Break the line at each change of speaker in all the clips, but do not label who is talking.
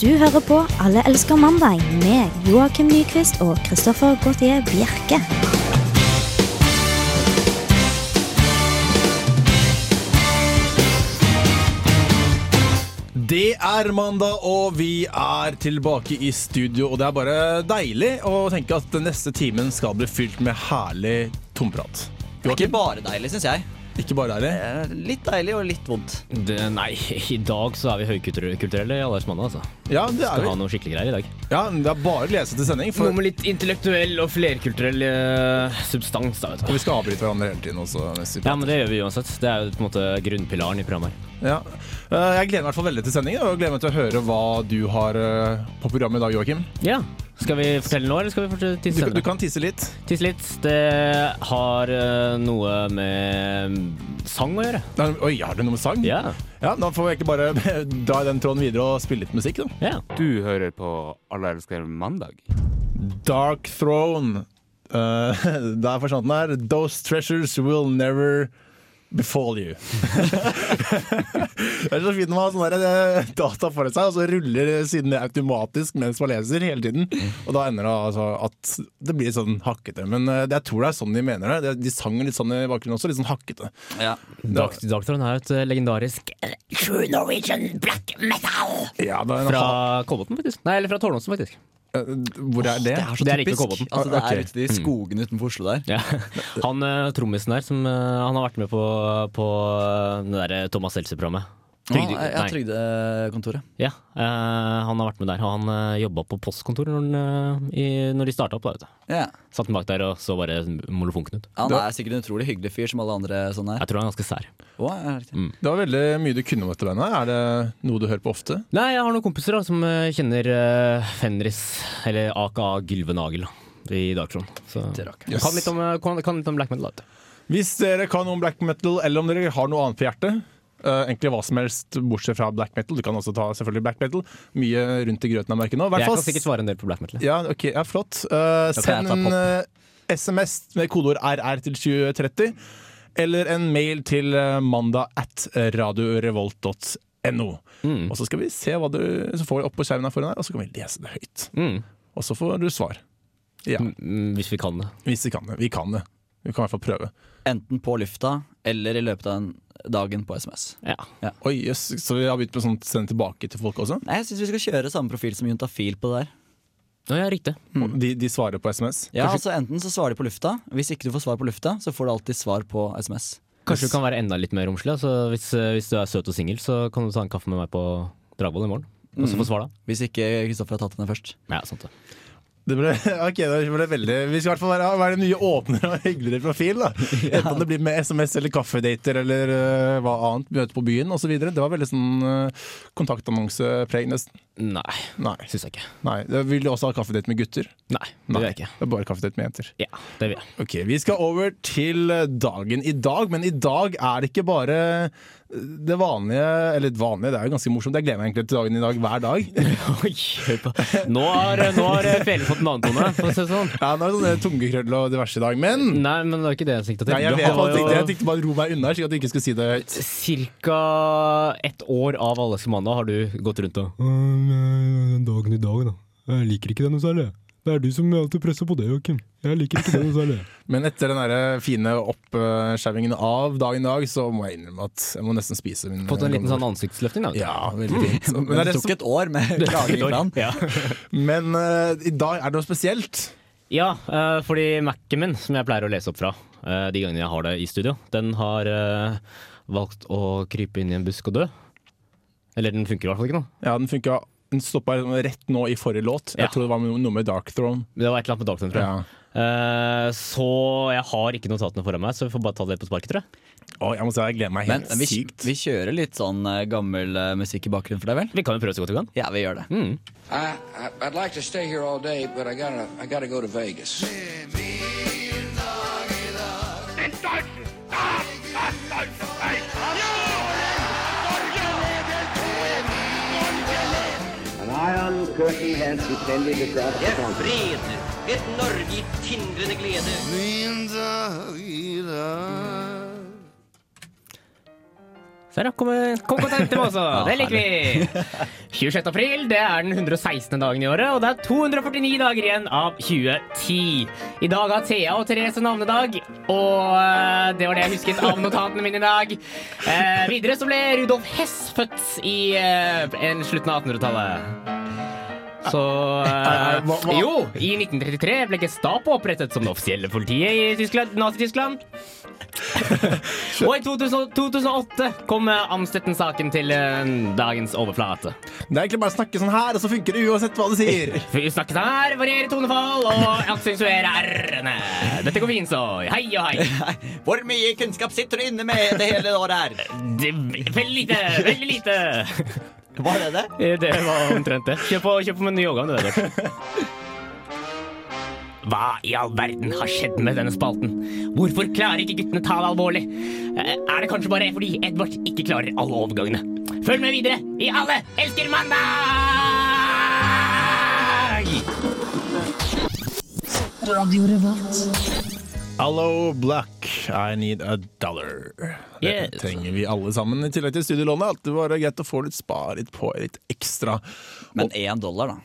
Du hører på Alle elsker mandag med Joakim Nyquist og Christoffer Gautier Bjerke.
Det er mandag, og vi er tilbake i studio. Og det er bare deilig å tenke at den neste timen skal bli fylt med herlig tomprat.
Ikke bare deilig, syns jeg.
Ikke bare deilig.
Eh, Litt deilig og litt vondt.
Det, nei, i dag så er vi høykulturelle i Allersmandag, altså.
Ja, det er
Skal ha
vi.
noe skikkelig greier i dag.
Ja, det er bare å glede seg til sending.
Noe
For,
med litt intellektuell og flerkulturell eh, substans, da, vet
og
du.
vi skal avbryte hverandre hele tiden også. mens vi
Ja, men det gjør vi uansett. Det er jo på en måte grunnpilaren i programmet her.
prater. Ja. Eh, Jeg gleder meg i hvert fall veldig til sendingen, og jeg gleder meg til å høre hva du har eh, på programmet i dag, Joakim.
Ja. Skal vi fortelle nå, eller skal vi fortelle
Du,
tisse
du
senere?
kan tisse litt.
Tisse litt. Det har eh, noe med mm, sang å gjøre.
Nei, Oi, har du noe med sang?
Ja.
Ja, Da får vi egentlig bare dra i den tråden videre og spille litt musikk, da.
ja.
Du hører på Alle elsker mandag.
Dark Throne. Eh, der forsvant den her. Those treasures will never befall you. det er så fint når man har sånne der, eh, data foran seg, og så ruller sidene automatisk mens man leser hele tiden. Og da ender det altså at det blir litt sånn hakkete. Men eh, jeg tror det er sånn de mener det. De sang litt sånn i bakgrunnen også, litt sånn hakkete.
Ja.
Dag- Dagtron er jo et eh, legendarisk True Norwegian black metal
Ja, det er en ha-
fra Kolbotn, faktisk. Nei, eller fra Tårnåsen, faktisk.
eh, Hvor er det?
Det er så
Det er ikke
typisk.
Kolbotn.
altså, det
Ok.
er ute i skogene utenfor Oslo der.
Ja. Han eh, trommisen der, som eh, han har vært med på, på eh, det der Thomas Seltzer-programmet. Trygde-
Trygde, ja,
nei.
Trygdekontoret.
Ja, eh, han har vært med der. og Han uh, jobba på postkontoret når, han, eh, i, når de starta opp. Da, vet du.
Ja.
Satt han bak der og så bare molefonken ut.
Han er sikkert en utrolig hyggelig fyr som alle andre sånn sånne her.
Jeg tror han er ganske sær.
Å, ja, riktig.
Det var veldig mye du kunne om dette bandet. Er det noe du hører på ofte?
Nei, jeg har noen kompiser da, som eh, kjenner eh, Fenris, eller aka Gylvenagel, da, i Dagtron. Så
Yes.
kan, litt om, eh, kan, kan litt om black metal. da, vet du.
Hvis dere kan om black metal, eller om dere har noe annet på hjertet, eh, egentlig hva som helst bortsett fra black metal, du kan også ta selvfølgelig black metal, mye rundt i grøten av merket nå. Hvert
Jeg
fall-
kan sikkert svare en del på black metal.
Ja, ok, ja, flott. Eh,
Da kan jeg
send
ta
en
pop.
eh, SMS med kodeord RR til 2030, eller en mail til eh, mandag at radiorevolt.no.
Mm.
Og så skal vi se hva du så får jeg opp på skjermen her foran her, og så kan vi lese det høyt.
Mm.
Og så får du svar. Ja,
Mm, Hvis vi kan det.
hvis vi kan det. Vi kan det. Vi kan i hvert fall prøve.
Enten på lufta eller i løpet av en dagen på SMS.
Ja.
Oi, jøss, så vi har begynt med sånt send tilbake til folk også?
Nei, Jeg syns vi skal kjøre samme profil som Juntafil på det der.
Nå, ja, riktig.
Og De, de svarer på SMS?
Ja,
Kanskje-
altså Enten så svarer de på lufta. Hvis ikke du får svar på lufta, så får du alltid svar på SMS.
Kanskje du kan være enda litt mer romslig. Altså, hvis, eh, hvis du er søt og singel, så kan du ta en kaffe med meg på Dragvoll i morgen. Og så få svar, da.
Hvis ikke Kristoffer har tatt henne først.
Ja, sant det.
Det ble, ok, det ble veldig Vi skal i hvert fall være, være nye åpnere og hyggeligere profil. da Enten om det blir med SMS eller kaffedater eller øh, hva annet, møte på byen osv. Det var veldig sånn uh, kontaktannonsepreg, nesten.
Nei,
Nei.
syns jeg ikke.
Nei. Det- Vil du også ha kaffedate med gutter?
Nei, det
Nei.
vil jeg ikke.
Det er bare kaffedate med jenter.
Ja, det vil jeg.
Ok, Vi skal over til eh, dagen i dag, men i dag er det ikke bare eh, det vanlige Eller vanlige, det er jo ganske morsomt. Jeg gleder meg egentlig til dagen i dag hver dag.
Oi, hør på. Nå har, nå har eh, Fele fått en annen tone, for å si det sånn.
Ja, Nå er det sånne tungekrøll og diverse i dag, men
Nei, men det var ikke Mm. det jeg sikta til.
Nei, jeg,
Du
vet,
har
jeg, tenkte, jeg tenkte bare ro meg unna, slik at du ikke skulle si det høyt.
Cirka ett år av Alle elsker mandag har du gått rundt og
Den eh, dagen i dag, da. Jeg liker ikke det noe særlig. Det er du som alltid presser på det, Joakim. Jeg liker ikke det noe særlig.
Men etter den der fine oppskjævingen av dagen i dag, så må jeg innrømme at jeg må nesten spise min
fått en liten sånn Mm. ansiktsløftning, da.
Ja, veldig fint. Men,
Men
det er
det
det
tok
som,
et år med klaging fra han.
Ja,
men eh, i dag er det noe spesielt.
ja eh, fordi Mac-en min, som jeg pleier å lese opp fra eh, de gangene jeg har det i studio, den har eh, valgt å krype inn i en busk og dø. Eller den funker i hvert fall ikke nå.
Ja, den funka Den stoppa rett nå i forrige låt. Jeg
Ja.
tror det var noe med Dark Throne.
Det var et eller annet med Dagtun, tror jeg.
Ja.
Eh, så jeg har ikke notatene foran meg, så vi får bare ta det på sparket, tror jeg.
Å, jeg må si jeg gleder meg
Men
helt
vi,
sykt.
vi kjører litt sånn eh, gammel eh, musikk i bakgrunnen for deg, vel?
Vi kan jo prøve så godt vi kan.
Ja, vi gjør det.
I, I I'd like to stay here all day, but I gotta I gotta go to Vegas.
An iron curtain has descended across the country.
Et Norge i tindrende glede.
Så her, da, kom, kom og kontakt med oss, også. det liker vi! 26. april det er den 116. dagen i året, og det er 249 dager igjen av 2010. I dag har Thea og Therese navnedag, og eh, det var det jeg husket av notatene mine i dag. Eh, videre så ble Rudolf Hess født i eh, en slutten av 1800-tallet. Så eh,
Hva- hva-
Jo, i 1933 ble Gestapo opprettet som det offisielle politiet i Tyskland- Nazi-Tyskland. Og i 2000, 2008 kom eh, Amstetten-saken til eh, dagens overflate.
Det er egentlig bare å snakke sånn her, og så funker det uansett hva du sier.
Vi snakkes her, varierer tonefall og aksentuerer r-ene. Dette går fint, så. Hei og hei.
Hvor mye kunnskap sitter du inne med det hele året her?
Det, veldig lite, veldig lite.
Var det det?
Eh, Det var omtrent det. Kjøp på, kjøp på med ny årgang, du. Vet. Hva i all verden har skjedd med denne spalten? Hvorfor klarer ikke guttene ta det alvorlig? Eh, Er det kanskje bare fordi Edvard ikke klarer alle overgangene? Følg med videre i Alle elsker mandag!
Hallo, Black. I need a dollar. Det
Yes.
trenger vi alle sammen. I tillegg til studielånet. Alltid bare greit å få litt spar litt på, litt ekstra.
Men én dollar, da.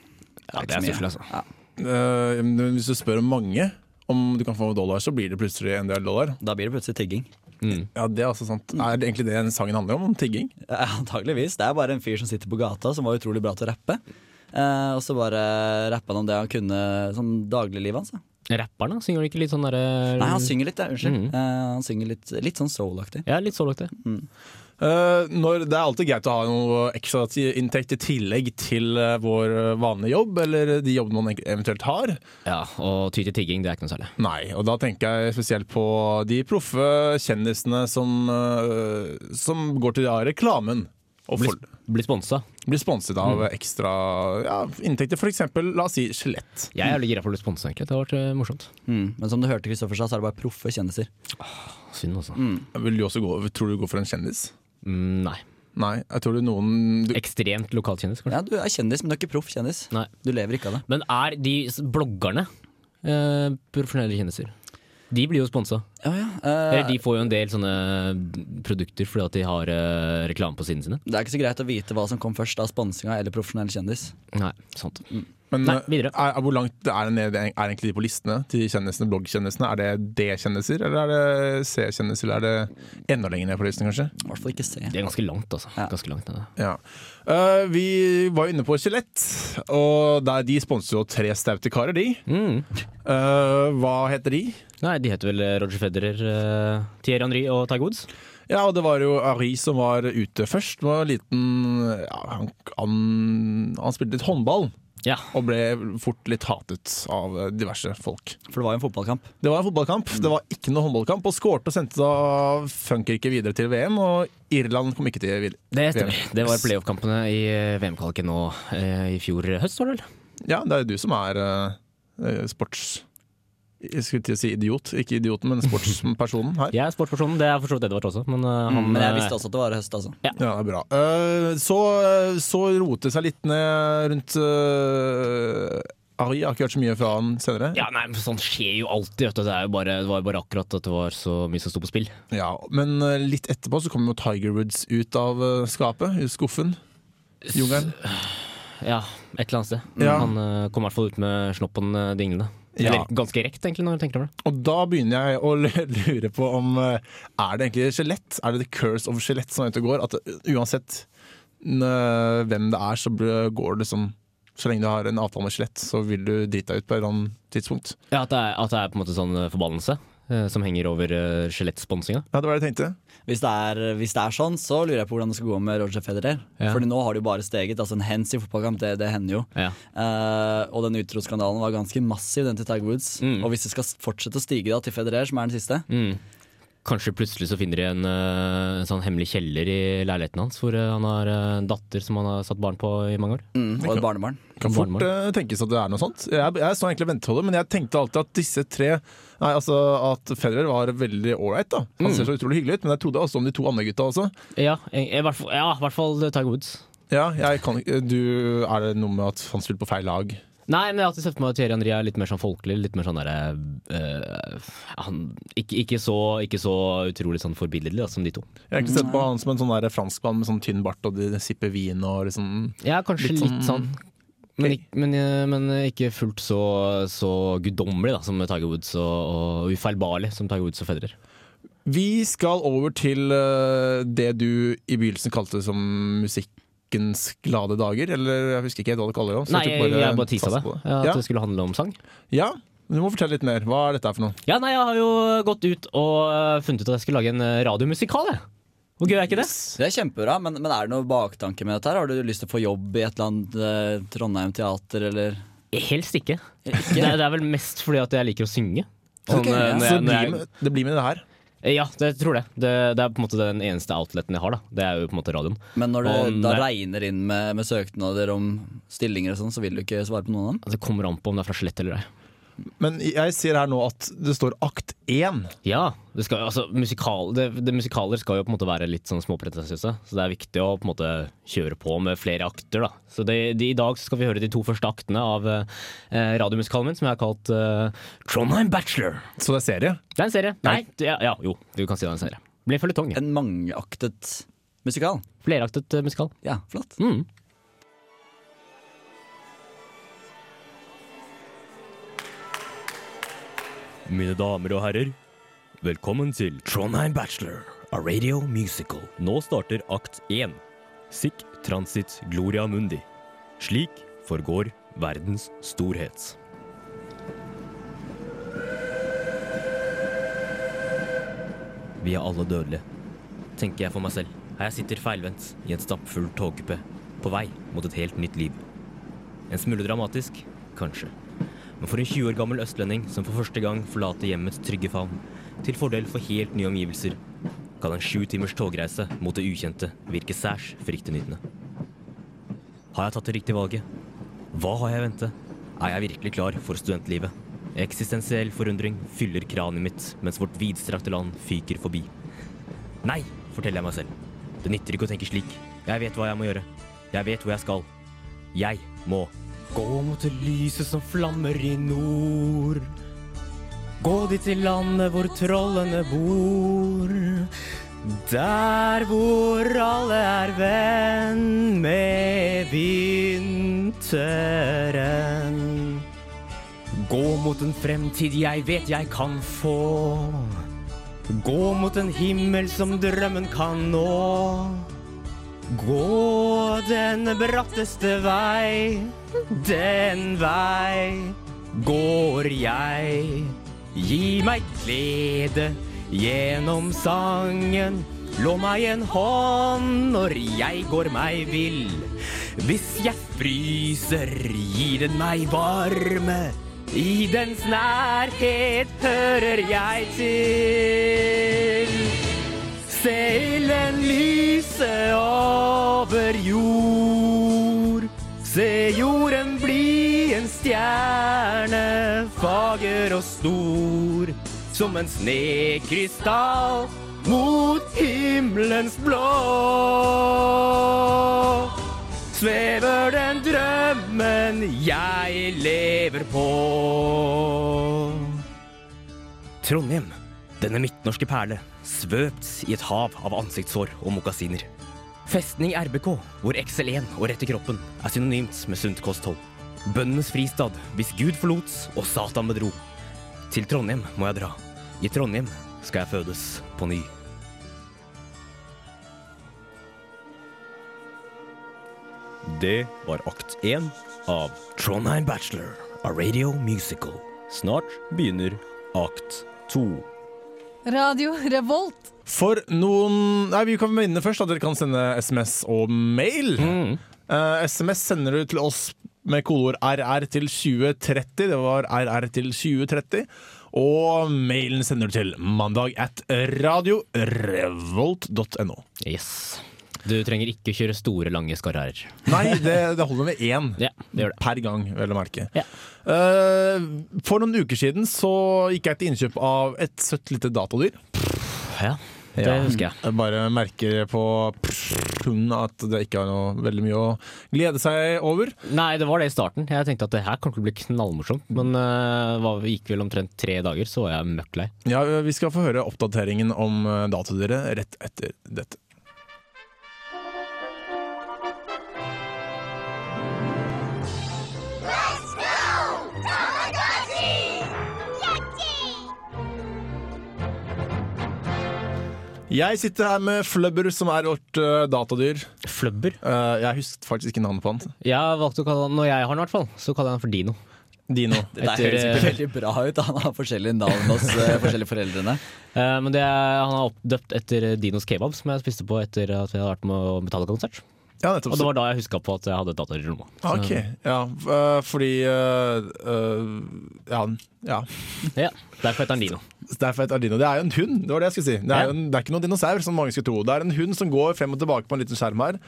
Ja,
det er stusslig, altså.
Eh, men hvis du spør mange om du kan få dollar, så blir det plutselig en del dollar.
Da blir det plutselig tigging.
Ja, det Er altså sant. Er det egentlig det den sangen handler om? Om tigging?
Ja, Antageligvis. Det er bare en fyr som sitter på gata, som var utrolig bra til å rappe. Eh, og så bare rappa han om det han kunne som dagliglivet hans. da.
Rapperen, da? Synger han ikke litt sånn derre
Nei, altså. han synger litt, ja, unnskyld. Eh, han synger litt, litt sånn soul-aktig.
Ja, litt så langt, det.
Eh, når, det er alltid greit å ha noe ekstra ti- inntekt i tillegg til eh, vår eh, vanlige jobb, eller de jobbene man egentlig eventuelt har.
Ja, og ty til tigging, det er ikke noe særlig.
Nei, og da tenker jeg spesielt på de proffe kjendisene som, eh, som går til ja, reklamen. Og
Bli,
for, Mm.
bli sponsa.
blir sponset av ekstra ja, inntekter, f.eks. la oss si skjelett.
Jeg er litt gira for å bli sponsa, egentlig. Det har vært eh, morsomt.
Mm. Men som du hørte Kristoffer sa, så er det bare proffe kjendiser.
Synd, altså.
Vil du også gå, tror du du går for en kjendis?
Mm, nei.
Nei, jeg tror du noen du,
Ekstremt lokalkjendis, kanskje.
Ja, du er kjendis, men du er ikke proff kjendis.
Nei.
Du lever ikke av det.
Men er de s- bloggerne eh, profesjonelle kjendiser? De blir jo sponsa.
Ja, ja. Eh,
Eller de får jo en del sånne produkter fordi at de har eh, reklame på sidene sine.
Det er ikke så greit å vite hva som kom først, da sponsinga eller profesjonell kjendis.
Nei, sant.
men,
Nei,
eh,
videre.
Er, er, hvor langt er det ned er egentlig de på listene til kjendisene, bloggkjendisene? Er det D-kjendiser, eller er det C-kjendiser, eller er det enda lenger ned på listen, kanskje?
I hvert fall ikke se.
Det er ganske langt, altså.
Ja.
Ganske langt nede.
Ja. Eh, vi var jo inne på Skjelett, og der de sponser jo tre staute karer, de.
Mm.
Eh, hva heter de?
Nei, de heter vel eh, Roger Federer, eh, Thierry Henry og Tiger Woods.
Ja, og det var jo Ari som var ute først. Det Var en liten ja, han, han, han spilte litt håndball
Ja.
og ble fort litt hatet av diverse folk.
For det var jo en fotballkamp.
Det var en fotballkamp, det var ikke noe håndballkamp, og skårte og sendte da Frankrike videre til VM, og Irland kom ikke til vid-
Det stemmer.
VM.
Det var playoff-kampene i eh, VM-kvaliken nå eh, i fjor høst, var det vel?
Ja, det er jo du som er eh, sports... Jeg skulle til å si idiot, ikke idioten, men sportspersonen her.
Jeg er sportspersonen, det er for så vidt Edvard også, men eh, han
Men jeg visste også at det var høst, altså.
Ja, det er bra. Eh, så, så rote det seg litt ned rundt uh, Ari. Jeg har ikke hørt så mye fra han senere.
Ja, nei, men sånt skjer jo alltid, vet du. Det, er jo bare, det var jo bare akkurat at det var så mye som sto på spill.
Ja, men eh, litt etterpå så kom jo Tiger Woods ut av eh, skapet, ut skuffen. Jungelen.
Ja, et eller annet sted.
Ja.
Han eh, kom i hvert fall ut med snoppen eh, dinglende.
Ja.
Eller ganske rekt, egentlig, når du tenker over det.
Og da begynner jeg å l- lure på om eh, Er det egentlig skjelett? Er det the curse of skjelett som er ute og går? At eh, uansett n- eh, hvem det er, så bl- går det som Så lenge du har en avtale med skjelett, så vil du drite deg ut på et eller annet tidspunkt.
Ja, at det er, at det er på en måte sånn eh, forbannelse eh, som henger over eh, skjelettsponsinga.
Ja, det var det jeg tenkte.
Hvis det, er, hvis det er sånn, så lurer jeg på hvordan det skal gå med Roger Federer.
Ja.
Fordi nå har det jo bare steget. Altså En hands i fotballkamp, det, det hender jo.
Ja.
Eh, og den utroskandalen var ganske massiv, den til Tiger Woods.
Mm.
Og hvis det skal fortsette å stige da til Federer, som er den siste
Kanskje plutselig så finner de en, eh, en sånn hemmelig kjeller i leiligheten hans, hvor eh, han har eh, en datter som han har satt barn på i mange år.
mm, Og et barnebarn.
kan fort eh, tenkes at det er noe sånt. Jeg, jeg står egentlig og venter på det, men jeg tenkte alltid at disse tre Nei, altså at Federer var veldig ålreit. Han ser så utrolig hyggelig ut, men jeg trodde også om de to andre gutta også.
Ja, i i hvert fall, ja, i hvert fall Tiger Woods.
Ja, jeg kan, ikke- du, Er det noe med at han spilte på feil lag?
Nei, men jeg har alltid sett for meg at Thierry André er litt mer sånn folkelig. Litt mer sånn derre eh, han- ikke, ikke, så- ikke så utrolig sånn forbilledlig da, som de to.
Jeg har ikke
Mm.
sett på han som en sånn der franskmann med sånn tynn bart og de sipper vin og liksom
Ja, kanskje litt, sånn. Men, ikk- men, eh, men ikke fullt så, så guddommelig da, som Tiger Woods og, og ufeilbarlig som Tiger Woods og Federer.
Vi skal over til eh, det du i begynnelsen kalte som musikkens glade dager, eller jeg husker ikke helt hva du kaller det. så
Nei,
tok
jeg, jeg bare tisa
satser
deg.
på
Ja, at
Ja,
det skulle handle om sang.
ja, du må fortelle litt mer. Hva er dette her for noe?
Ja, nei, jeg har jo gått ut og eh, funnet ut at jeg skulle lage en eh, radiomusikal, jeg. Hvor gøy er ikke det?
Det er kjempebra, men, men er det noe baktanke med dette? her? Har du lyst til å få jobb i et eller annet eh, Trondheim teater, eller
Helst ikke. Det, er- det er vel mest fordi at jeg liker å synge. Sånn,
Ok,
eh,
ja.
når
Så
jeg,
det
når
blir
jeg,
med, det blir med det her.
ja, det tror jeg. Det, det er på en måte den eneste outleten jeg har. da Det er jo på en måte radioen.
Men når det
Om
da
det-
regner inn med, med søknader om stillinger og sånn, så vil du ikke svare på noen av dem?
Altså, Det kommer an på om det er fra Skjelett eller ei.
Men jeg ser her nå at det står akt én.
Ja, det, skal, altså, musikal, det, det musikaler skal jo på en måte være litt sånn småpretensiøse, så det er viktig å på en måte kjøre på med flere akter. da. Så det, de, I dag så skal vi høre de to første aktene av eh, eh, radiomusikalen min, som jeg har kalt eh, Trondheim Bachelor.
Så det er serie.
Det er en serie. Nei, det- ja, ja, jo, du kan si det er en serie. Det blir en føljetong.
En mangeaktet musikal.
Fleraktet eh, musikal.
Ja, flott.
Mm. Mine damer og herrer, velkommen til Trondheim Bachelor, a radio musical. Nå starter akt 1, Sic Transit Gloria Mundi. Slik forgår verdens storhet. Vi er alle dødelige, tenker jeg for meg selv. Her jeg sitter feilvendt i en stappfull togkupé, på vei mot et helt nytt liv. En smule dramatisk, kanskje. Men for en 20 år gammel østlending som for første gang forlater hjemmets trygge favn, til fordel for helt nye omgivelser, kan en sju timers togreise mot det ukjente virke særs fryktinngytende. Har jeg tatt det riktige valget? Hva har jeg i vente? Er jeg virkelig klar for studentlivet? Eksistensiell forundring fyller kraniet mitt mens vårt vidstrakte land fyker forbi. Nei, forteller jeg meg selv. Det nytter ikke å tenke slik. Jeg vet hva jeg må gjøre. Jeg vet hvor jeg skal. Jeg må gå mot det lyset som flammer i nord. Gå dit til landet hvor trollene bor. Der hvor alle er venn med vinteren. Gå mot en fremtid jeg vet jeg kan få. Gå mot en himmel som drømmen kan nå. Gå den bratteste vei, den vei går jeg. Gi meg glede gjennom sangen. Lån meg en hånd når jeg går meg vill. Hvis jeg fryser, gir den meg varme. I dens nærhet hører jeg til. Se ilden lyse over jord. Se jorden bli en stjerne, fager og stor. Som en snekrystall mot himmelens blå. Svever den drømmen jeg lever på. Trondheim, denne midtnorske perle, svøpt i et hav av ansiktshår og mokasiner. Festning RBK, hvor XL1 og rett i kroppen er synonymt med sunt kosthold. Bøndenes fristad, hvis Gud forlot og Satan bedro. Til Trondheim må jeg dra. I Trondheim skal jeg fødes på ny. Det var akt én av Trondheim Bachelor, a radio musical. Snart begynner akt to.
Radio Revolt.
For noen Nei, vi kan vinne først. Da. Dere kan sende SMS og mail. Eh, SMS sender du til oss med kodeord RR til 2030. Det var RR til 2030. Og mailen sender du til mandag at radiorevolt.no.
Yes. Du trenger ikke kjøre store, lange skarrer.
Nei, det, det holder med én.
Ja, det gjør det.
Per gang, vel å merke.
Ja.
Eh, for noen uker siden så gikk jeg til innkjøp av et søtt lite datadyr.
Ja. Det husker jeg.
Jeg bare merker på pungen at det ikke er noe veldig mye å glede seg over.
Nei, det var det i starten. Jeg tenkte at det her kommer til å bli knallmorsomt. Men eh, hva- vi gikk vel omtrent tre dager, så var jeg møkk lei.
Ja, Vi skal få høre oppdateringen om eh, datoen dere rett etter dette. Jeg sitter her med Flubber, som er vårt eh, datadyr.
Flubber?
Eh, jeg husket faktisk ikke navnet på han.
Jeg valgte å kalle han, Når jeg har den, i hvert fall, så kaller jeg han for Dino.
Dino.
Det der
Etter, eh,
høres ikke veldig bra ut. Han har forskjellige navn hos eh, forskjellige foreldrene.
Eh, men det er, han er oppdøpt etter Dinos kebab, som jeg spiste på etter at vi hadde vært med å betale konsert.
Ja, nettopp.
Og det var da jeg huska på at jeg hadde dataer i rommet.
Ah, Ok, ja, eh, fordi eh, eh, ja, ja.
Ja, Derfor heter han Dino.
Derfor heter Ardino. Det er jo en hund, det var det jeg skulle si. Det er, jo en, det er ikke noen dinosaur, som mange skulle tro. Det er en hund som går frem og tilbake på en liten skjerm her.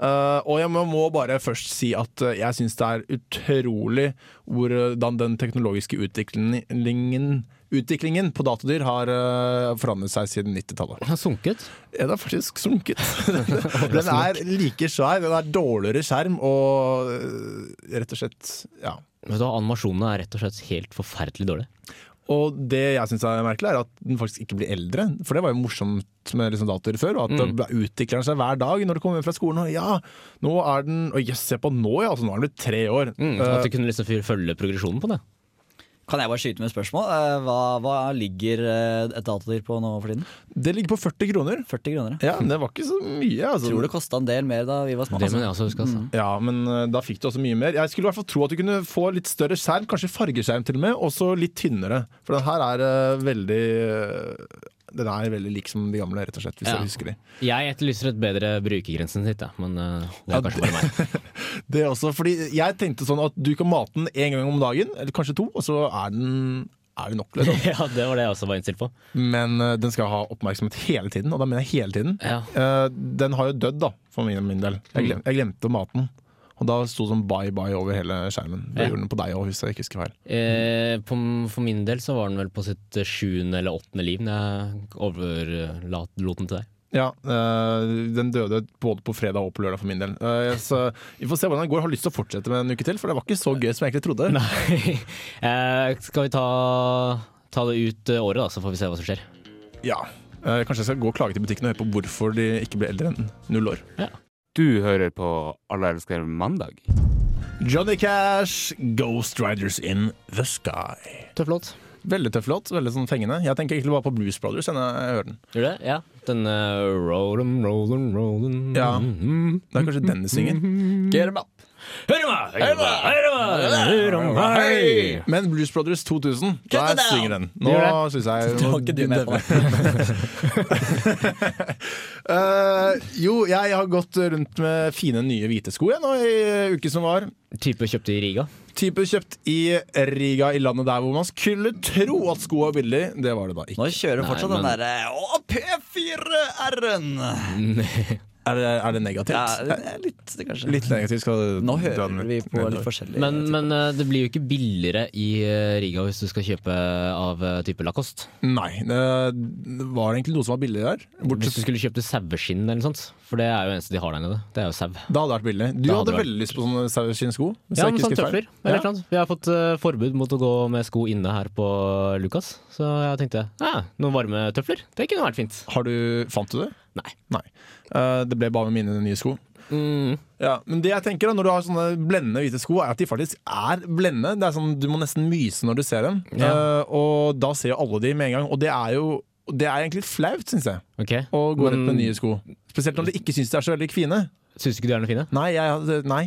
Eh, og jeg må, må bare først si at eh, jeg syns det er utrolig hvordan den teknologiske utviklingen, utviklingen på datadyr har eh, forandret seg siden 90-tallet.
Han sunket.
Den er faktisk sunket. den er like svær, den er dårligere skjerm og eh, rett og slett Ja.
Vet du hva, Animasjonene er rett og slett helt forferdelig dårlige.
Og det jeg syns er merkelig, er at den faktisk ikke blir eldre. For det var jo morsomt med liksom datoer før. og At mm. det utvikler den seg hver dag når du kommer hjem fra skolen. Og ja, nå er den Å jøss, se på nå, ja! Altså, nå er den blitt tre år. Eh,
At du kunne liksom fyr- følge progresjonen på det.
Kan jeg bare skyte med et spørsmål? Eh, Hva, hva ligger eh, et datadyr på nå for tiden?
Det ligger på 40 kroner.
40 kroner, ja.
Ja, men det var ikke så mye, altså.
Tror det kosta en del mer da vi var små.
Det
altså.
mener jeg også husker, altså.
Ja, men eh, da fikk du også mye mer. Jeg skulle i hvert fall tro at du kunne få litt større skjerm, kanskje fargeskjerm til og med, og så litt tynnere. For den her er eh, veldig eh, Den er veldig lik som de gamle, rett og slett, hvis
Ja.
jeg husker de.
Jeg etterlyser et bedre brukergrensen sitt, jeg. men eh, det er kanskje bare meg.
Det også, fordi jeg tenkte sånn at du kan mate den én gang om dagen, eller kanskje to, og så er den er jo nok, liksom.
ja, det var det jeg også var innstilt på.
Men eh, den skal ha oppmerksomhet hele tiden, og da mener jeg hele tiden.
Ja. Mm.
Eh, den har jo dødd, da, for min, min del. Jeg, glem, jeg glemte å mate den. Og da sto sånn bye-bye over hele skjermen. Det
Ja.
gjorde den på deg òg, hvis jeg ikke husker feil.
Eh, på, for min del så var den vel på sitt eh, sjuende eller åttende liv når jeg overlot lot den til deg.
Ja, eh, den døde både på fredag og på lørdag for min del. Eh, så vi får se hvordan det går. Jeg har lyst til å fortsette med en uke til, for det var ikke så gøy som jeg egentlig trodde.
Nei. eh, skal vi ta, ta det ut eh, året, da, så får vi se hva som skjer.
Ja. Eh, kanskje jeg skal gå og klage til butikken og høre på hvorfor de ikke ble eldre enn null år.
Du hører på Alle elsker mandag.
Johnny Cash, Ghost Riders in the Sky.
Tøff låt.
Veldig tøff låt, veldig sånn fengende. Jeg tenker egentlig bare på Blues Brothers når jeg hører den.
Gjør du det? Ja. Den eh, rollin, rollin, rollin
Ja.
Mhm.
Det er kanskje den de synger. Get 'em up!
Hør meg! Hør meg! Hør meg! Hør meg!
Men Blues Brothers 2000,
Get
der
it down!
synger den. Nå
Gjør
syns jeg
Det var ikke du med på.
Eh, jo, jeg har gått rundt med fine nye hvite sko jeg, nå i eh, uken som var.
Type kjøpte i Riga.
Type kjøpt i Riga, i landet der hvor man skulle tro at sko var billig. Det var det da ikke.
Nå kjører du fortsatt
Nei, men-
den eh, derre P4R-en!
Er det, er det negativt?
Ja, det er litt, kanskje.
Litt negativt skal du
Nå
dra
hører
den
vi på
nedover.
litt forskjellig.
Men, men eh, det blir jo ikke billigere i eh, Riga hvis du skal kjøpe av eh, type Lacoste.
Nei, det var egentlig noe som var billig der.
Hvis
Bortsett,
du skulle kjøpt saueskinn eller noe sånt. For det er jo eneste de har der nede. Det er jo sau.
da hadde det vært billig. Du
Da hadde
hadde
det vært-
veldig lyst på sånne saueskinnsko. hvis
Ja,
jeg
men
ikke
sånn
husker feil.
tøfler. Eller et eller annet. Vi har fått eh, forbud mot å gå med sko inne her på Lukas, så jeg tenkte ah, noen varme tøfler. Det kunne vært fint.
Har du, fant du det?
Nei.
Eh, det ble bare med mine nye sko.
Mm.
Ja, men det jeg tenker da, når du har sånne blendende hvite sko, er at de faktisk er blendende. Det er sånn, Du må nesten myse når du ser dem.
Ja.
Eh, og da ser jo alle de med en gang. Og det er jo det er egentlig litt flaut, syns jeg,
Ok.
å gå
Men-
rundt med nye sko. Spesielt når de ikke syns de er så veldig fine.
Syns du ikke de er noe fine?
Nei, jeg, hadde- nei.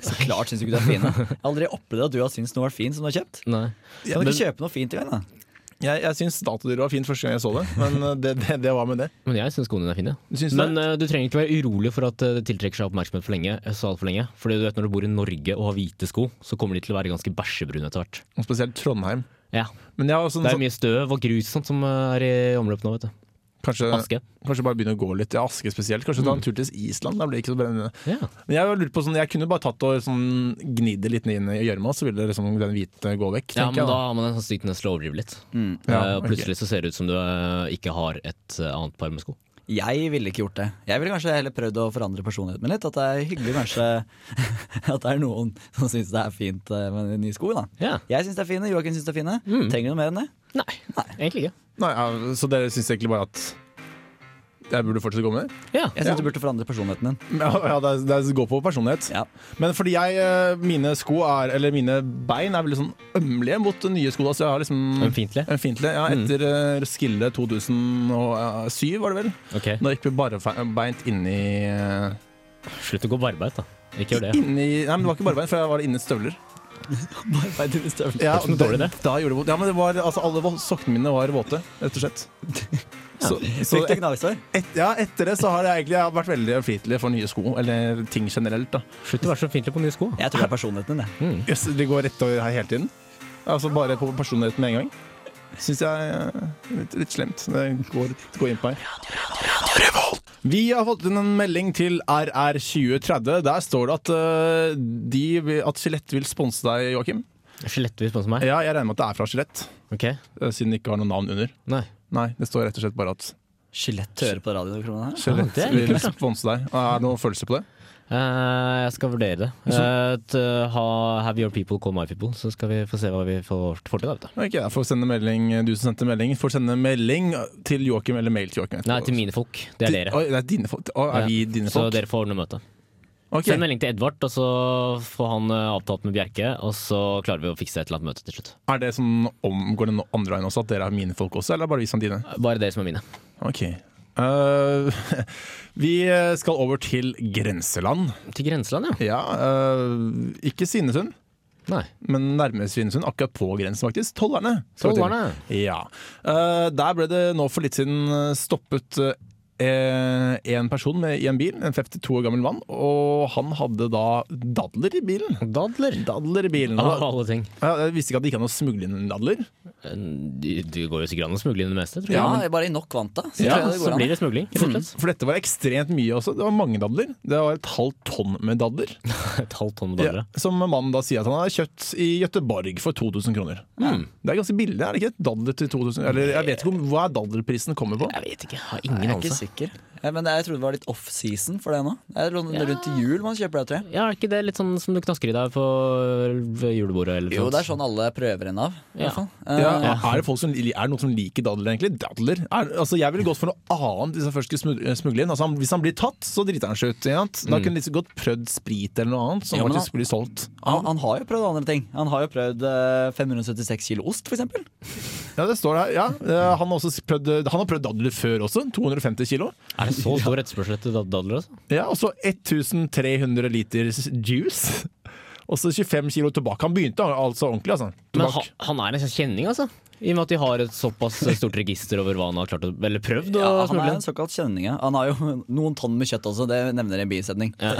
Så klart syns du ikke du er fin. Jeg har aldri opplevd at du har syntes noe var fint som du har kjøpt.
Nei.
Kan du ikke kjøpe noe fint i gang, da?
jeg, jeg syns datadyret var fint første gang jeg så det, men eh, det, det, det var med det.
Men jeg syns skoene dine er fine.
Du syns det?
Men eh, du trenger ikke være urolig for at eh, det tiltrekker seg oppmerksomhet for lenge. eh, Så alt for lenge. Fordi du vet når du bor i Norge og har hvite sko, så kommer de til å være ganske bæsjebrune etter hvert.
Og spesielt Trondheim.
Ja.
Men jeg har også en sånn-
Det er mye støv og grus sånt som eh, er i omløp nå, vet du.
Kanskje,
Aske.
kanskje bare begynne å gå litt. Ja, Aske spesielt. Kanskje ta en tur til Island. Da blir det ikke så brennende.
Ja.
Men jeg har lurt på sånn, jeg kunne bare tatt og sånn, gnidd det litt ned inn i gjørma, så ville liksom den hvite gå vekk.
Ja,
tenker
men
jeg,
da har man en sånn syk tendens til å overdrive litt.
Ja,
Eh,
ok.
Plutselig så ser det ut som du eh, ikke har et eh, annet par med sko.
Jeg ville ikke gjort det. Jeg ville kanskje heller prøvd å forandre personligheten min litt. At det er hyggelig kanskje at det er noen som syns det er fint eh, med nye sko. da
Ja.
Jeg syns det er fine, Joakim syns det er fine. Trenger du noe mer enn det?
Nei, egentlig ikke.
Nei, ja, Så dere syns egentlig bare at jeg burde fortsette å gå med det?
Ja.
Jeg syns du burde forandre personligheten din.
Ja, ja det, er- det er- går på personlighet.
Ja.
Men fordi jeg, eh, mine sko er, eller mine bein er veldig sånn ømmelige mot nye sko. Da, så jeg har liksom
Ømfintlig.
Ømfintlig, ja, etter eh, Roskilde 2007 eh, var det vel.
Ok,
Da gikk vi barbeint inni eh,
Slutt å gå barbeint, da. Ikke gjør det.
Inni, nei, men det var ikke barbeint, for jeg var inne i støvler.
Arbeid under støvler.
Ja,
Hvordan dårlig det?
Da gjorde det vondt. Ja, men det var, altså, alle vo- sokkene mine var våte, rett og slett. Så, så
Fikk du gnagsår?
et, ja, etter det så har jeg egentlig jeg har vært veldig ømfintlig for nye sko, eller ting generelt. da.
Slutt å være så fintlig på nye sko.
Jeg tror det er personligheten din, det.
Mm.
Jøss, det går rett over her hele tiden? Altså bare på personligheten med en gang? Syns jeg er litt, litt slemt. Det går, går inn på meg. Vi har fått inn en melding til RR2030. Der står det at, eh, de, vil- at Skjelett vil sponse deg, Joakim.
Skjelettvis på som meg.
Ja, jeg regner med at det er fra Skjelett,
Ok,
eh, siden det ikke har noe navn under.
nei.
Nei, det står rett og slett bare at
Skjelett hører på radioen. tror jeg det er.
Skjelett
det er litt
vil
kult, da.
sponse deg. Er det noen følelser på det?
Eh, jeg skal vurdere det. Eh, t- ha, have your people call my people, så skal vi få se hva vi får får til. da, vet du.
Ok, jeg får sende melding, eh, Du som sendte melding, får sende melding til Joakim eller mail til Joakim. etterpå.
Nei, til mine folk. Det er
Di-
dere.
Oi, det er dine folk. Å, er
Ja.
vi dine
Så
folk?
dere får ordne møte.
Ok.
Send melding til Edvard, og så får han eh, avtalt med Bjerke. Og så klarer vi å fikse et eller annet møte til slutt.
Er det sånn omgår den andre veien også, at dere er mine folk også, eller er det bare vi som er dine?
Bare dere som er mine.
Ok. Eh, vi skal over til grenseland.
Til grenseland, ja.
Ja, eh, ikke Svinesund,
Nei.
men nærmere Svinesund. Akkurat på grensen, faktisk. Tollerne. skal vi til.
Tollerne.
Ja. Eh, der ble det nå for litt siden stoppet eh, en person med, i en bil, en 52 år gammel mann, og han hadde da dadler i bilen.
Dadler.
Dadler i bilen.
Av
Og,
alle ting.
ja, jeg visste ikke at det gikk an å smugle inn dadler.
Du, du Eh, går jo sikkert an å smugle inn det meste, tror jeg.
Ja, bare i nok vant, da. Så
Ja,
tror jeg det
Så
går an.
blir det smugling, rett og slett.
For dette var ekstremt mye også. Det var mange dadler. Det var et halvt tonn med dadler.
Mm. Et halvt tonn med
Ja,
dadler.
som mannen da sier at han har kjøpt i Gøteborg for 2000 kroner. Det er ganske billig, er det ikke? Dadler til 2000 Eller jeg vet ikke om, hva er dadlerprisen kommer på.
Jeg vet ikke, jeg har
Jeg
ingen
er ikke
anelse.
sikker. Ja, men jeg trodde det var litt off-season for det nå. Det er rundt rundt jul man kjøper det, tror jeg.
Ja, er ikke det litt sånn som du knasker i deg på ved julebordet? Eller
Jo,
sånt?
det er sånn alle prøver en av. I
Ja.
hvert fall.
Ja,
Eh,
er det folk som, er det noen som liker dadler, egentlig? Dadler? Er, altså, jeg ville gått for noe annet hvis jeg først skulle smu- smugle inn. Altså, han, hvis han blir tatt, så driter han seg ut. Ikke sant? Da kunne de liksom godt prøvd sprit eller noe annet som
Mm. Ja, men
faktisk blir solgt.
Han, han har jo prøvd andre ting. Han har jo prøvd eh, 576 kilo ost, f.eks.
Ja, det står her. Ja, eh, han, har også prøvd, han har prøvd dadler før også. 250 kilo.
Er det så stor etterspørsel etter dad- dadler? Altså?
Ja, og så 1300 liter juice. Og så 25 kilo tobakk. Han begynte altså ordentlig, altså.
Men
Tobakk.
han, han er en slags kjenning, altså. I og med at de har et såpass stort register over hva han har klart å, eller prøvd
Ja,
å
han er
smugle
en
inn.
såkalt kjenning. ja. Han har jo noen tonn med kjøtt også, det nevner en bisetning. Ja,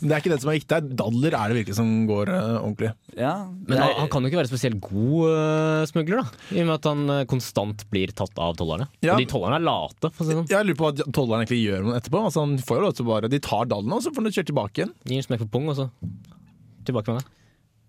Men det er ikke det som er riktig. Dadler er det virkelig som går eh, ordentlig.
Men han,
det er-
han kan jo ikke være spesielt god eh, smugler, da. I og med at han eh, konstant blir tatt av tollerne.
Ja.
Og de tollerne er late, for å si det sånn.
Jeg lurer på hva tolleren egentlig gjør med den etterpå. Altså, han får jo lov til å bare, De tar dadlene, og så får han kjørt tilbake igjen.
Gir en smekk på pung, og så tilbake med det.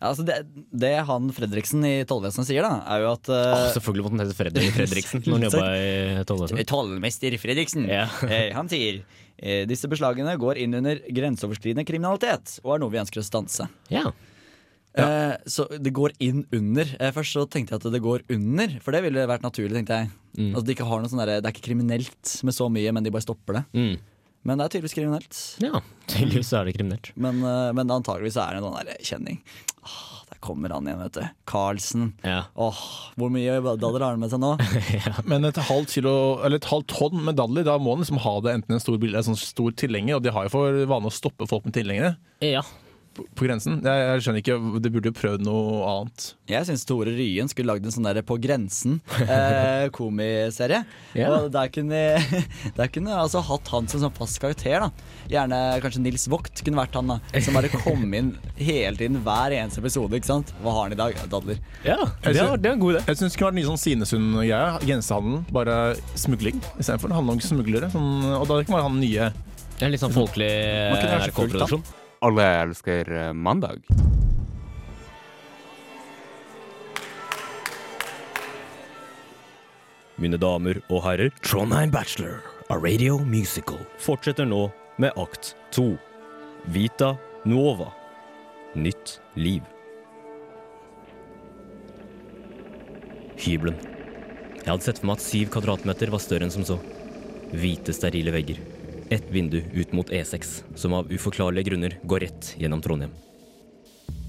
Ja, altså det, det han Fredriksen i tollvesenet sier, da, er jo at
Åh,
eh,
selvfølgelig måtte han hete Fredrik Fredriksen når han jobba i tollvesenet.
Tollmester Fredriksen,
Ja.
eh, han sier eh, disse beslagene går inn under grenseoverskridende kriminalitet og er noe vi ønsker å stanse.
Ja.
Eh, så det går inn under. Eh, først så tenkte jeg at det går under, for det ville vært naturlig, tenkte jeg.
Mm.
Altså, de ikke har noe sånn derre- det er ikke kriminelt med så mye, men de bare stopper det.
Mm.
Men det er tydeligvis kriminelt.
ja. Tydeligvis så er det kriminelt.
Men, eh, men antageligvis så er det noen der kjenning. Ah, der kommer han igjen, vet du. Carlsen.
Ja.
Åh, hvor mye dadler har han med seg nå?
Men et halvt, kilo, eller et halvt tonn med dadler, da må han liksom ha det enten en stor bil eller en sånn stor tilhenger, og de har jo for vane å stoppe folk med tilhengere.
Ja.
på, på grensen. Jeg, jeg skjønner ikke, De burde jo prøvd noe annet.
Jeg syns Tore Ryen skulle lagd en sånn der På grensen eh, komiserie.
Ja.
Og der kunne der kunne jeg altså hatt han som sånn fast karakter. da Gjerne kanskje Nils Vogt kunne vært han da som bare kom inn hele tiden, hver eneste episode. ikke sant? Hva har han i dag? Dadler.
Ja, det var, det var en god idé.
Jeg synes det kunne vært en ny sånn Sinesund-greie. Grensehandel, bare smugling istedenfor. Det handler om smuglere. Sånn, og da kan man ha den nye.
Det er litt
Mm.
sånn folkelig
Man kunne kanskje fulgt
NRK-produksjon.
Alle elsker eh, mandag.
Mine damer og herrer, Trondheim Bachelor, a radio musical, fortsetter nå med akt 2. Vita Nuova. Nytt liv. Hybelen. Jeg hadde sett for meg at syv kvadratmeter var større enn som så. Hvite, sterile vegger. Ett vindu ut mot E6, som av uforklarlige grunner går rett gjennom Trondheim.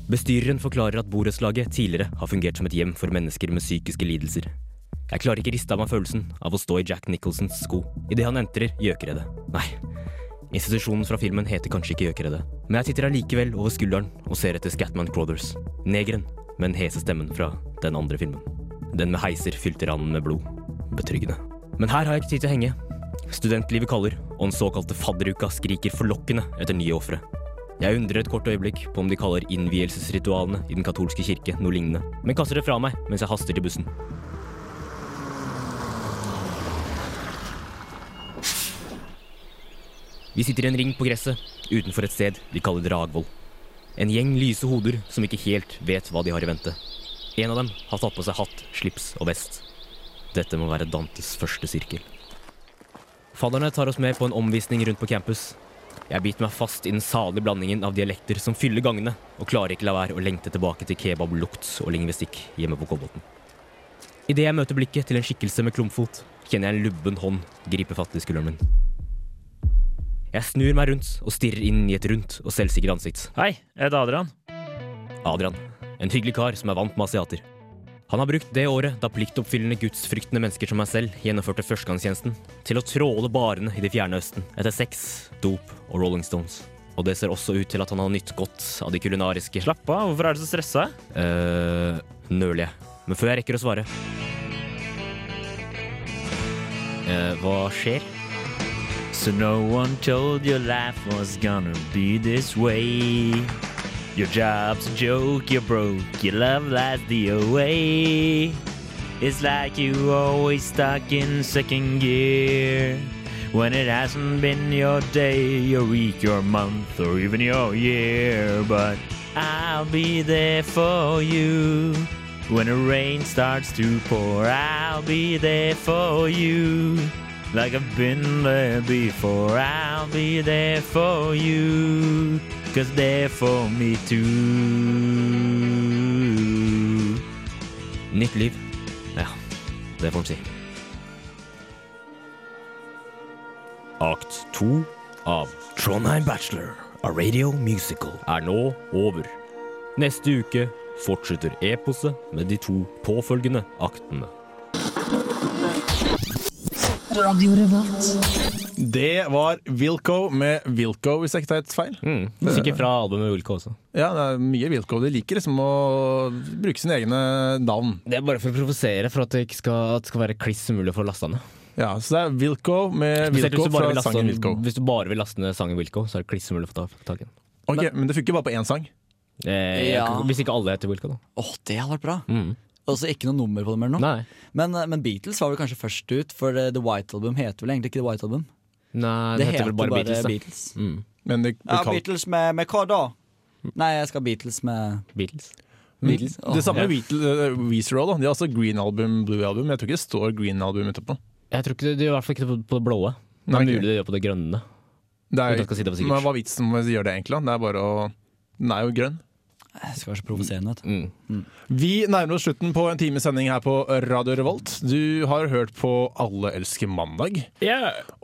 Bestyreren forklarer at borettslaget tidligere har fungert som et hjem for mennesker med psykiske lidelser. Jeg klarer ikke riste av meg følelsen av å stå i Jack Nicholsons sko idet han entrer Gjøkeredet. Nei, institusjonen fra filmen heter kanskje ikke Gjøkeredet, men jeg titter allikevel over skulderen og ser etter Scatman Crothers, negeren med den hese stemmen fra den andre filmen. Den med heiser fylte randen med blod. Betryggende. Men her har jeg ikke tid til å henge. Studentlivet kaller, og den såkalte fadderuka skriker forlokkende etter nye ofre. Jeg undrer et kort øyeblikk på om de kaller innvielsesritualene i den katolske kirke noe lignende, men kaster det fra meg mens jeg haster til bussen. Vi sitter i en ring på gresset utenfor et sted de kaller Dragvoll. En gjeng lyse hoder som ikke helt vet hva de har i vente. En av dem har tatt på seg hatt, slips og vest. Dette må være Dantes første sirkel. Fadderne tar oss med på en omvisning rundt på campus. Jeg biter meg fast i den salige blandingen av dialekter som fyller gangene, og klarer ikke la være å lengte tilbake til kebablukt og lingvistikk hjemme på Kolbotn. Idet jeg møter blikket til en skikkelse med klumpfot, kjenner jeg en lubben hånd gripe fatt i skulderen min. Jeg snur meg rundt og stirrer inn i et rundt og selvsikkert ansikt. Hei, jeg heter Adrian. Adrian. En hyggelig kar som er vant med asiater. Han har brukt det året da pliktoppfyllende gudsfryktende mennesker som meg selv gjennomførte førstegangstjenesten, til å tråle barene i det fjerne østen etter sex, dop og Rolling Stones. Og det ser også ut til at han har nytt godt av de kulinariske Slapp av, hvorfor er du så stressa? eh, nøler jeg. Men før jeg rekker å svare eh, Hva skjer? So no one told your life was gonna be this way. Your job's a joke, you're broke, your love lies the away. It's like you always stuck in second gear. When it hasn't been your day, your week, your month, or even your year, but I'll be there for you. When the rain starts to pour, I'll be there for you. Like I've been there before, I'll be there for you. Cause they're for me too. Nytt liv. Ja, det får en si. Akt to av Trondheim Bachelor, a radio musical, er nå over. Neste uke fortsetter eposet med de to påfølgende aktene.
Radio Revolt.
Det var Wilco med Wilco, hvis jeg ikke tar helt feil.
Mm. Musikk fra albumet Ulka også.
Ja, det er mye Wilco. De liker liksom å bruke sine egne navn.
Det er bare for å provosere, for at det, ikke skal, at det skal være kliss umulig å få lasta ned.
Ja, Så det er Wilco med
Spesielt
Wilco
hvis du, bare vil sånn-
fra
laste,
sangen Wilco.
hvis du bare vil laste ned sangen Wilco, så er det kliss umulig å få ta- tak i den.
Ok, Men det funker bare på én sang.
Eh,
Ja.
Hvis ikke alle heter Wilco, da.
Åh, det hadde vært bra.
Mm.
Og så ikke noe nummer på dem eller noe.
Nei.
Men, eh, men Beatles var vel kanskje først ut, for eh, The White Album heter vel egentlig ikke The White Album.
Nei,
Det,
det,
heter
heter vel bare, Beatles. Da.
Beatles.
Mm.
Men det, det,
Ja,
kall-
Beatles med, med hva da? Nei, jeg skal ha Beatles med
Beatles.
Beatles. Åh,
det samme
ja.
med Beatle- eh, Weezer òg. De har altså Green Album, Blue Album. Jeg tror ikke det står Green Album etterpå.
Jeg tror ikke det, det gjør i hvert fall ikke det på, på det blå. Det er
Nei, ikke.
mulig det gjør på det grønne.
Det
Uten at jeg
er,
skal si det var sikkert.
men hva er vitsen med å gjøre det, egentlig? da? Det er bare å Den er jo grønn.
Jeg skal være så provoserende. vet du.
Mm.
Vi nærmer oss slutten på en times sending her på Radio Revolt. Du har hørt på Alle elsker mandag.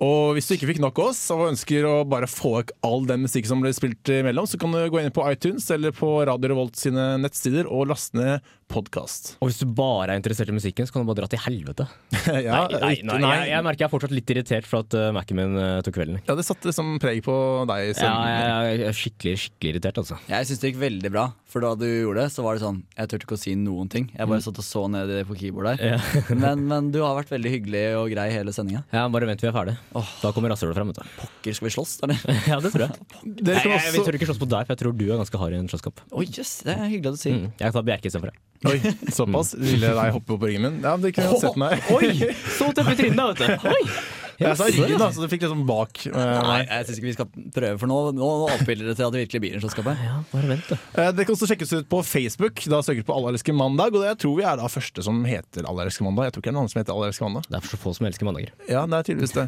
Og hvis du ikke fikk nok av oss og ønsker å bare få vekk all den musikk som ble spilt imellom, så kan du gå inn på iTunes eller på Radio Revolt sine nettsider og laste ned podkast.
Og hvis du bare er interessert i musikken, så kan du bare dra til helvete.
Ja,
nei, nei, nei,
nei.
Jeg, jeg merker jeg er fortsatt litt irritert for at uh, Mac-en min eh, tok kvelden.
Ja, det satte liksom preg på deg
Ja,
selv.
jeg, jeg er skikkelig, skikkelig irritert, altså.
Jeg syns det gikk veldig bra, for da du gjorde det, så var det sånn Jeg turte ikke å si noen ting. Jeg
Mm.
bare satt og så ned i- på keyboard der. men, men du har vært veldig hyggelig og grei hele sendinga.
Ja, bare vent til vi er ferdig. Da kommer rasshølet fram. vet du.
Pokker, skal vi slåss, eller?
ja, det tror jeg.
Dere
Nei,
skal
jeg, vi
også
tør ikke slåss på deg, for jeg tror du er ganske hard i en slåsskamp.
Oi, jøss, det er hyggelig at du sier.
Mm. Jeg tar Bjerke istedenfor. jeg.
Oi, såpass? Ville deg hoppe på ryggen min? Ja, men det kunne jeg sett meg.
Oi! Så tøff i trynet, da, vet du. Oi.
Jeg sa ryggen, da, så du fikk liksom bak. eh,
Mm.
Nei,
meg.
jeg syns ikke vi skal prøve, for nå, nå oppbilder det til at det virkelig blir en slåsskamp her.
Ja, bare vent, du.
Eh, Det kan også sjekkes ut på Facebook. Da søker du på Allerske mandag. Og det jeg tror vi er da første som heter Allerske mandag. Jeg tror ikke det er noen annen som heter Allerske mandag.
Det er for så få som elsker mandager.
Ja, det er tydeligvis det.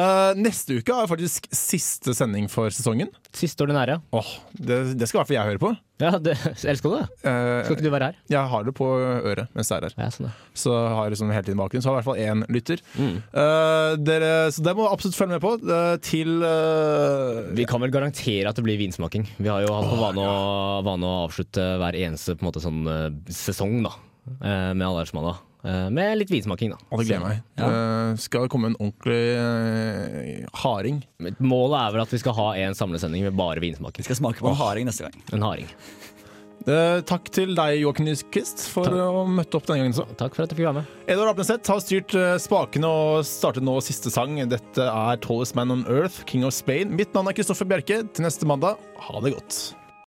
Eh, neste uke er faktisk siste sending for sesongen.
Siste ordinære, ja.
Åh, det, det skal i hvert fall jeg høre på.
ja det, elsker du det?
Eh,
Skal ikke du være her?
jeg har det på øret mens jeg er her.
Ja, sånn ja.
Så har jeg liksom hele tiden bakgrunn. Så har jeg i hvert fall én lytter.
Mm.
Eh, dere, så det må du absolutt følge med på. eh, til eh,
Vi kan vel garantere at det blir vinsmaking. Vi har jo hatt på vane, å, vane å avslutte hver eneste på en måte, sånn, eh, sesong da, eh, med Allermandag. Med litt vinsmaking, da.
Å, det gleder jeg meg. Eh, skal det komme en ordentlig eh, harding.
Men Målet er vel at vi skal ha en samlesending med bare
Vi
vinsmaking.
skal smake på en harding neste gang.
En harding.
Eh, takk til deg, Joakim Nyquist, for å møtte opp denne gangen. Så.
Takk for at du fikk være med.
Edvard Apneseth har styrt eh, spakene og startet nå siste sang. Dette er 'Tallest Man on Earth', 'King of Spain'. Mitt navn er Kristoffer Bjerke. Til neste mandag, ha det godt.